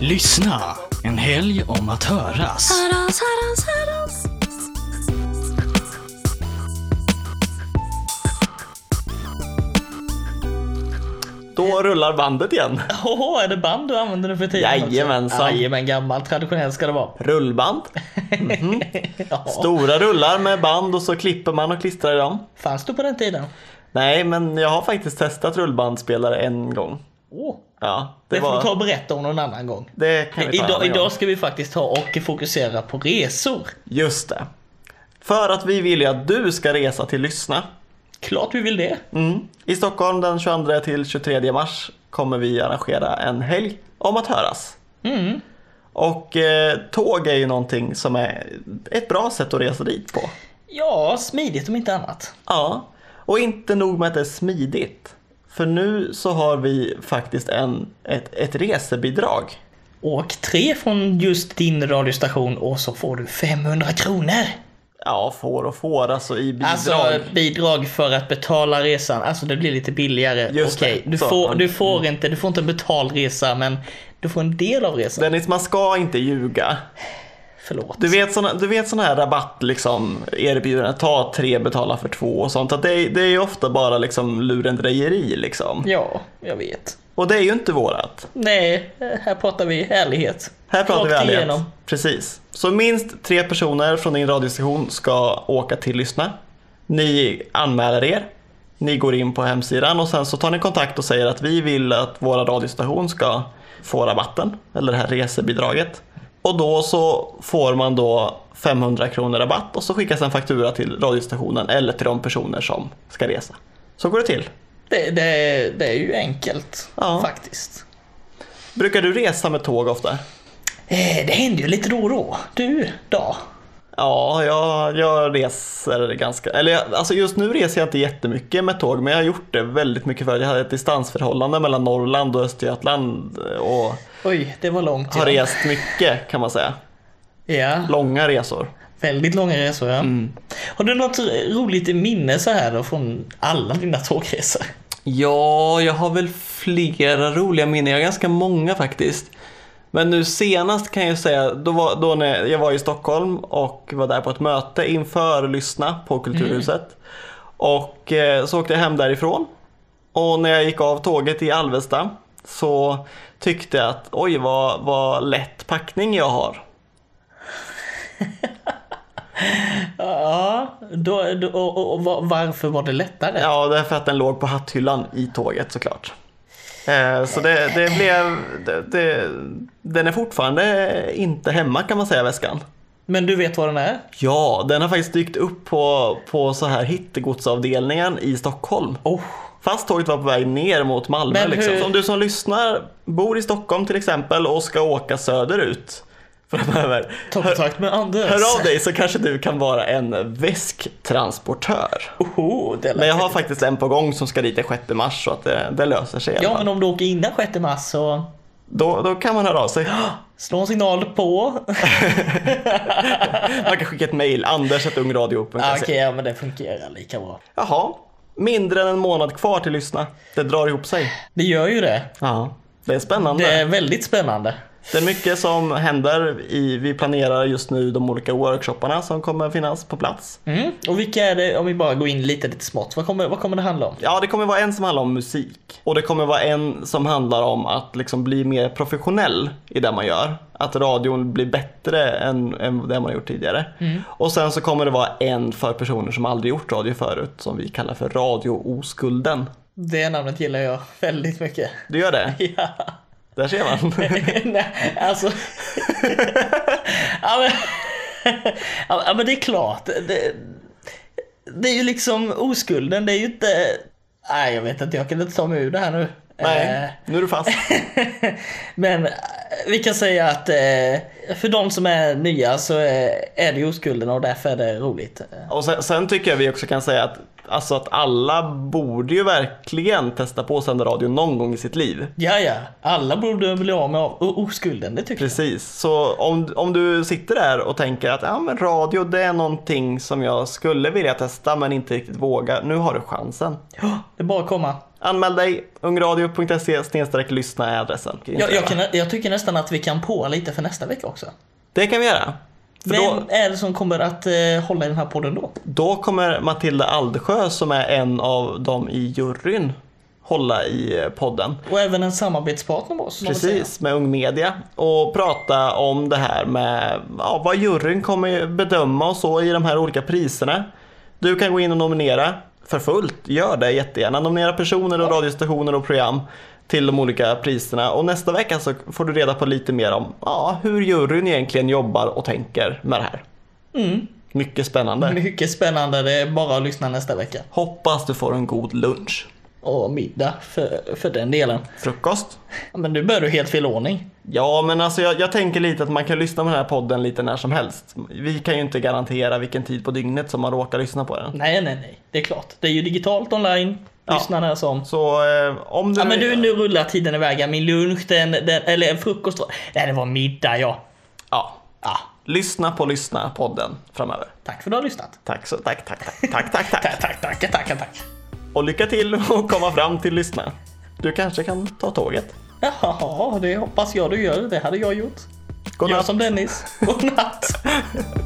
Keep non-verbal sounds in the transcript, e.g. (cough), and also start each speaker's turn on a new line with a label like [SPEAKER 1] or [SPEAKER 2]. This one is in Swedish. [SPEAKER 1] Lyssna! En helg om att höras.
[SPEAKER 2] Höras, höras, höras.
[SPEAKER 3] Eh.
[SPEAKER 4] Då rullar bandet igen.
[SPEAKER 3] (laughs) Åh, är det band du använder nu för tiden? också?
[SPEAKER 4] Jajamensan.
[SPEAKER 3] Jajamän, gammalt traditionellt ska det vara.
[SPEAKER 4] Rullband. Mhm.
[SPEAKER 3] (laughs) Ja.
[SPEAKER 4] Stora rullar med band och så klipper man och klistrar i dem.
[SPEAKER 3] Fanns du på den tiden?
[SPEAKER 4] Nej, men jag har faktiskt testat rullbandspelare en gång.
[SPEAKER 3] Åh,
[SPEAKER 4] Ja,
[SPEAKER 3] det,
[SPEAKER 4] det,
[SPEAKER 3] får
[SPEAKER 4] var...
[SPEAKER 3] du ta och berätta om någon annan gång.
[SPEAKER 4] Det kan vi ta en
[SPEAKER 3] Idag,
[SPEAKER 4] annan gång.
[SPEAKER 3] idag ska vi faktiskt ta och fokusera på resor.
[SPEAKER 4] Just det. För att vi vill ju att du ska resa till Lyssna.
[SPEAKER 3] Klart vi vill det.
[SPEAKER 4] Mm. I Stockholm den 22 till 23 mars kommer vi arrangera en helg om att höras.
[SPEAKER 3] Mm.
[SPEAKER 4] Och eh, tåg är ju någonting som är ett bra sätt att resa dit på.
[SPEAKER 3] Ja, smidigt om inte annat.
[SPEAKER 4] Ja, och inte nog med att det är smidigt. För nu så har vi faktiskt en, ett, ett resebidrag.
[SPEAKER 3] Åk tre från just din radiostation och så får du 500 kronor.
[SPEAKER 4] Ja, får och får alltså i bidrag.
[SPEAKER 3] Alltså bidrag för att betala resan. Alltså det blir lite billigare.
[SPEAKER 4] Just det.
[SPEAKER 3] Okej, du
[SPEAKER 4] Så,
[SPEAKER 3] får,
[SPEAKER 4] man- mm.
[SPEAKER 3] du får inte, du får inte en betald resa men du får en del av resan.
[SPEAKER 4] Dennis, man ska inte ljuga.
[SPEAKER 3] Förlåt.
[SPEAKER 4] Du vet såna, du vet såna här rabatt liksom, erbjudanden, ta tre, betala för två och sånt. Att det, är- det är ju ofta bara liksom lurendrejeri liksom.
[SPEAKER 3] Ja, jag vet.
[SPEAKER 4] Och det är ju inte vårat.
[SPEAKER 3] Nej, här pratar vi ärlighet.
[SPEAKER 4] Här pratar
[SPEAKER 3] Rakt
[SPEAKER 4] vi ärlighet.
[SPEAKER 3] igenom.
[SPEAKER 4] Precis. Så minst tre personer från din radiostation ska åka till Lyssna. Ni anmäler er. Ni går in på hemsidan och sen så tar ni kontakt och säger att vi vill att våra radiostation ska få rabatten, eller det här resebidraget. Och då så får man då 500 kronor rabatt och så skickas en faktura till radiostationen eller till de personer som ska resa. Så går det till.
[SPEAKER 3] Det, det, det är ju enkelt
[SPEAKER 4] Ja.
[SPEAKER 3] faktiskt.
[SPEAKER 4] Brukar du resa med tåg ofta?
[SPEAKER 3] Eh, Det händer ju lite då och då. Du, då?
[SPEAKER 4] Ja, jag, jag reser ganska, eller jag, alltså just nu reser jag inte jättemycket med tåg, men jag har gjort det väldigt mycket förr. Jag hade ett distansförhållande mellan Norrland och Östergötland och
[SPEAKER 3] Oj, det var långt.
[SPEAKER 4] har
[SPEAKER 3] ja.
[SPEAKER 4] rest mycket kan man säga.
[SPEAKER 3] Ja,
[SPEAKER 4] Långa resor.
[SPEAKER 3] väldigt långa resor ja.
[SPEAKER 4] Mm.
[SPEAKER 3] Har du något roligt i minne så här då från alla dina tågresor?
[SPEAKER 4] Ja, jag har väl flera roliga minnen. Jag har ganska många faktiskt. Men nu senast kan jag säga, då, var, då när jag var i Stockholm och var där på ett möte inför Lyssna på Kulturhuset. Och eh, så åkte jag hem därifrån. Och när jag gick av tåget i Alvesta så tyckte jag att oj vad, vad lätt packning jag har.
[SPEAKER 3] Ja, då, då, och, och, och var- varför var det lättare?
[SPEAKER 4] Ja, det är för att den låg på hatthyllan i tåget såklart. Eh, Så det, det blev... Det, det, den är fortfarande inte hemma kan man säga väskan.
[SPEAKER 3] Men du vet vad den är?
[SPEAKER 4] Ja, den har faktiskt dykt upp på, på så här hittegodsavdelningen i Stockholm.
[SPEAKER 3] Oh,
[SPEAKER 4] Fast tåget var på väg ner mot Malmö.
[SPEAKER 3] Men
[SPEAKER 4] liksom.
[SPEAKER 3] hur-
[SPEAKER 4] Så om du som lyssnar bor i Stockholm till exempel och ska åka söderut framöver.
[SPEAKER 3] ta
[SPEAKER 4] Hör,
[SPEAKER 3] kontakt med Anders.
[SPEAKER 4] hör av dig så kanske du kan vara en väsktransportör.
[SPEAKER 3] Oho, det lät
[SPEAKER 4] Men jag har faktiskt en på gång som ska dit den 6 mars så att det, det löser sig i alla
[SPEAKER 3] Ja,
[SPEAKER 4] fall.
[SPEAKER 3] men om du åker innan 6 mars så
[SPEAKER 4] då, då kan man höra av sig.
[SPEAKER 3] slå en signal på.
[SPEAKER 4] Man kan skicka ett mejl,
[SPEAKER 3] ah,
[SPEAKER 4] anders.ungradio.se.
[SPEAKER 3] Okej, ja, men det fungerar lika bra.
[SPEAKER 4] Jaha, mindre än en månad kvar till lyssna. Det drar ihop sig.
[SPEAKER 3] Det gör ju det.
[SPEAKER 4] Ja, det är spännande.
[SPEAKER 3] Det
[SPEAKER 4] Det,
[SPEAKER 3] är väldigt spännande.
[SPEAKER 4] är mycket som händer. I, vi planerar just nu de olika workshopparna som kommer finnas på plats.
[SPEAKER 3] Mm. Och vilka är det, om vi bara går in lite, lite smått, vad kommer, vad kommer det handla om?
[SPEAKER 4] Ja, det kommer vara en som handlar om musik och det kommer vara en som handlar om att liksom bli mer professionell i det man gör. Att radion blir bättre än, än det man har gjort tidigare. Och sen så kommer det vara en för personer som aldrig gjort radio förut som vi kallar för radiooskulden.
[SPEAKER 3] Det namnet gillar jag väldigt mycket.
[SPEAKER 4] Du gör det?
[SPEAKER 3] (laughs) Ja. (laughs)
[SPEAKER 4] Där ser man.
[SPEAKER 3] Nej, alltså. (laughs) ja, men... (laughs) ja, men det är klart. Det, det är ju liksom oskulden, det är ju inte... Nej, jag vet inte, jag kan inte ta mig ur det här nu. Eh,
[SPEAKER 4] Nej, nu är du fast.
[SPEAKER 3] Men eh, vi kan säga att eh, för de som är nya så eh, är det ju oskulden och därför är det roligt. Eh,
[SPEAKER 4] Och sen, sen tycker jag vi också kan säga att, alltså att alla borde ju verkligen testa på att sända radio någon gång i sitt liv.
[SPEAKER 3] Ja, ja, alla borde bli av med av- o- oskulden, det tycker jag.
[SPEAKER 4] Precis, så om, om du sitter där och tänker att ja, men radio det är någonting som jag skulle vilja testa men inte riktigt vågar. Nu har du chansen.
[SPEAKER 3] Ja, Det är bara att komma.
[SPEAKER 4] Anmäl dig, ungradio.se snedstreck lyssna är adressen.
[SPEAKER 3] Jag, jag, kan, jag tycker nästan att vi kan på lite för nästa vecka också.
[SPEAKER 4] Det kan vi göra. För
[SPEAKER 3] Vem
[SPEAKER 4] då,
[SPEAKER 3] är det som kommer att eh, hålla i den här podden då?
[SPEAKER 4] då kommer Matilda Aldsjö som är en av dem i juryn hålla i eh, podden.
[SPEAKER 3] Och även en samarbetspartner med oss. får man väl säga.
[SPEAKER 4] Precis, med Ung Media och prata om det här med ja, vad juryn kommer bedöma och så i de här olika priserna. Du kan gå in och nominera för fullt, gör det jättegärna. Nominera personer och radiostationer och program till de olika priserna och nästa vecka så får du reda på lite mer om ja, hur juryn egentligen jobbar och tänker med det här.
[SPEAKER 3] Mm.
[SPEAKER 4] Mycket spännande.
[SPEAKER 3] Mycket spännande, det är bara att lyssna nästa vecka.
[SPEAKER 4] Hoppas du får en god lunch.
[SPEAKER 3] Och middag för, för den delen.
[SPEAKER 4] Frukost?
[SPEAKER 3] Ja, Men nu börjar du helt fel ordning.
[SPEAKER 4] Ja, men alltså jag, jag tänker lite att man kan lyssna på den här podden lite när som helst. Vi kan ju inte garantera vilken tid på dygnet som man råkar lyssna på den.
[SPEAKER 3] Nej, nej, nej. Det är klart. Det är ju digitalt online.
[SPEAKER 4] Ja.
[SPEAKER 3] Lyssna när som.
[SPEAKER 4] Så eh, om du...
[SPEAKER 3] Ja men du, nu rullar tiden iväg. Min lunch, den, den eller frukost. Nej, det var middag ja.
[SPEAKER 4] Ja,
[SPEAKER 3] ja.
[SPEAKER 4] lyssna på Lyssna-podden framöver.
[SPEAKER 3] Tack för att du har lyssnat.
[SPEAKER 4] Tack så... Tack, tack, tack, tack, tack, tack.
[SPEAKER 3] (laughs) Tack, tack, tack, tack, tack.
[SPEAKER 4] Och lycka till att komma fram till Lyssna. Du kanske kan ta tåget.
[SPEAKER 3] Ja, det hoppas jag du gör. Det hade jag gjort.
[SPEAKER 4] Godnatt.
[SPEAKER 3] Gör som Dennis. Godnatt.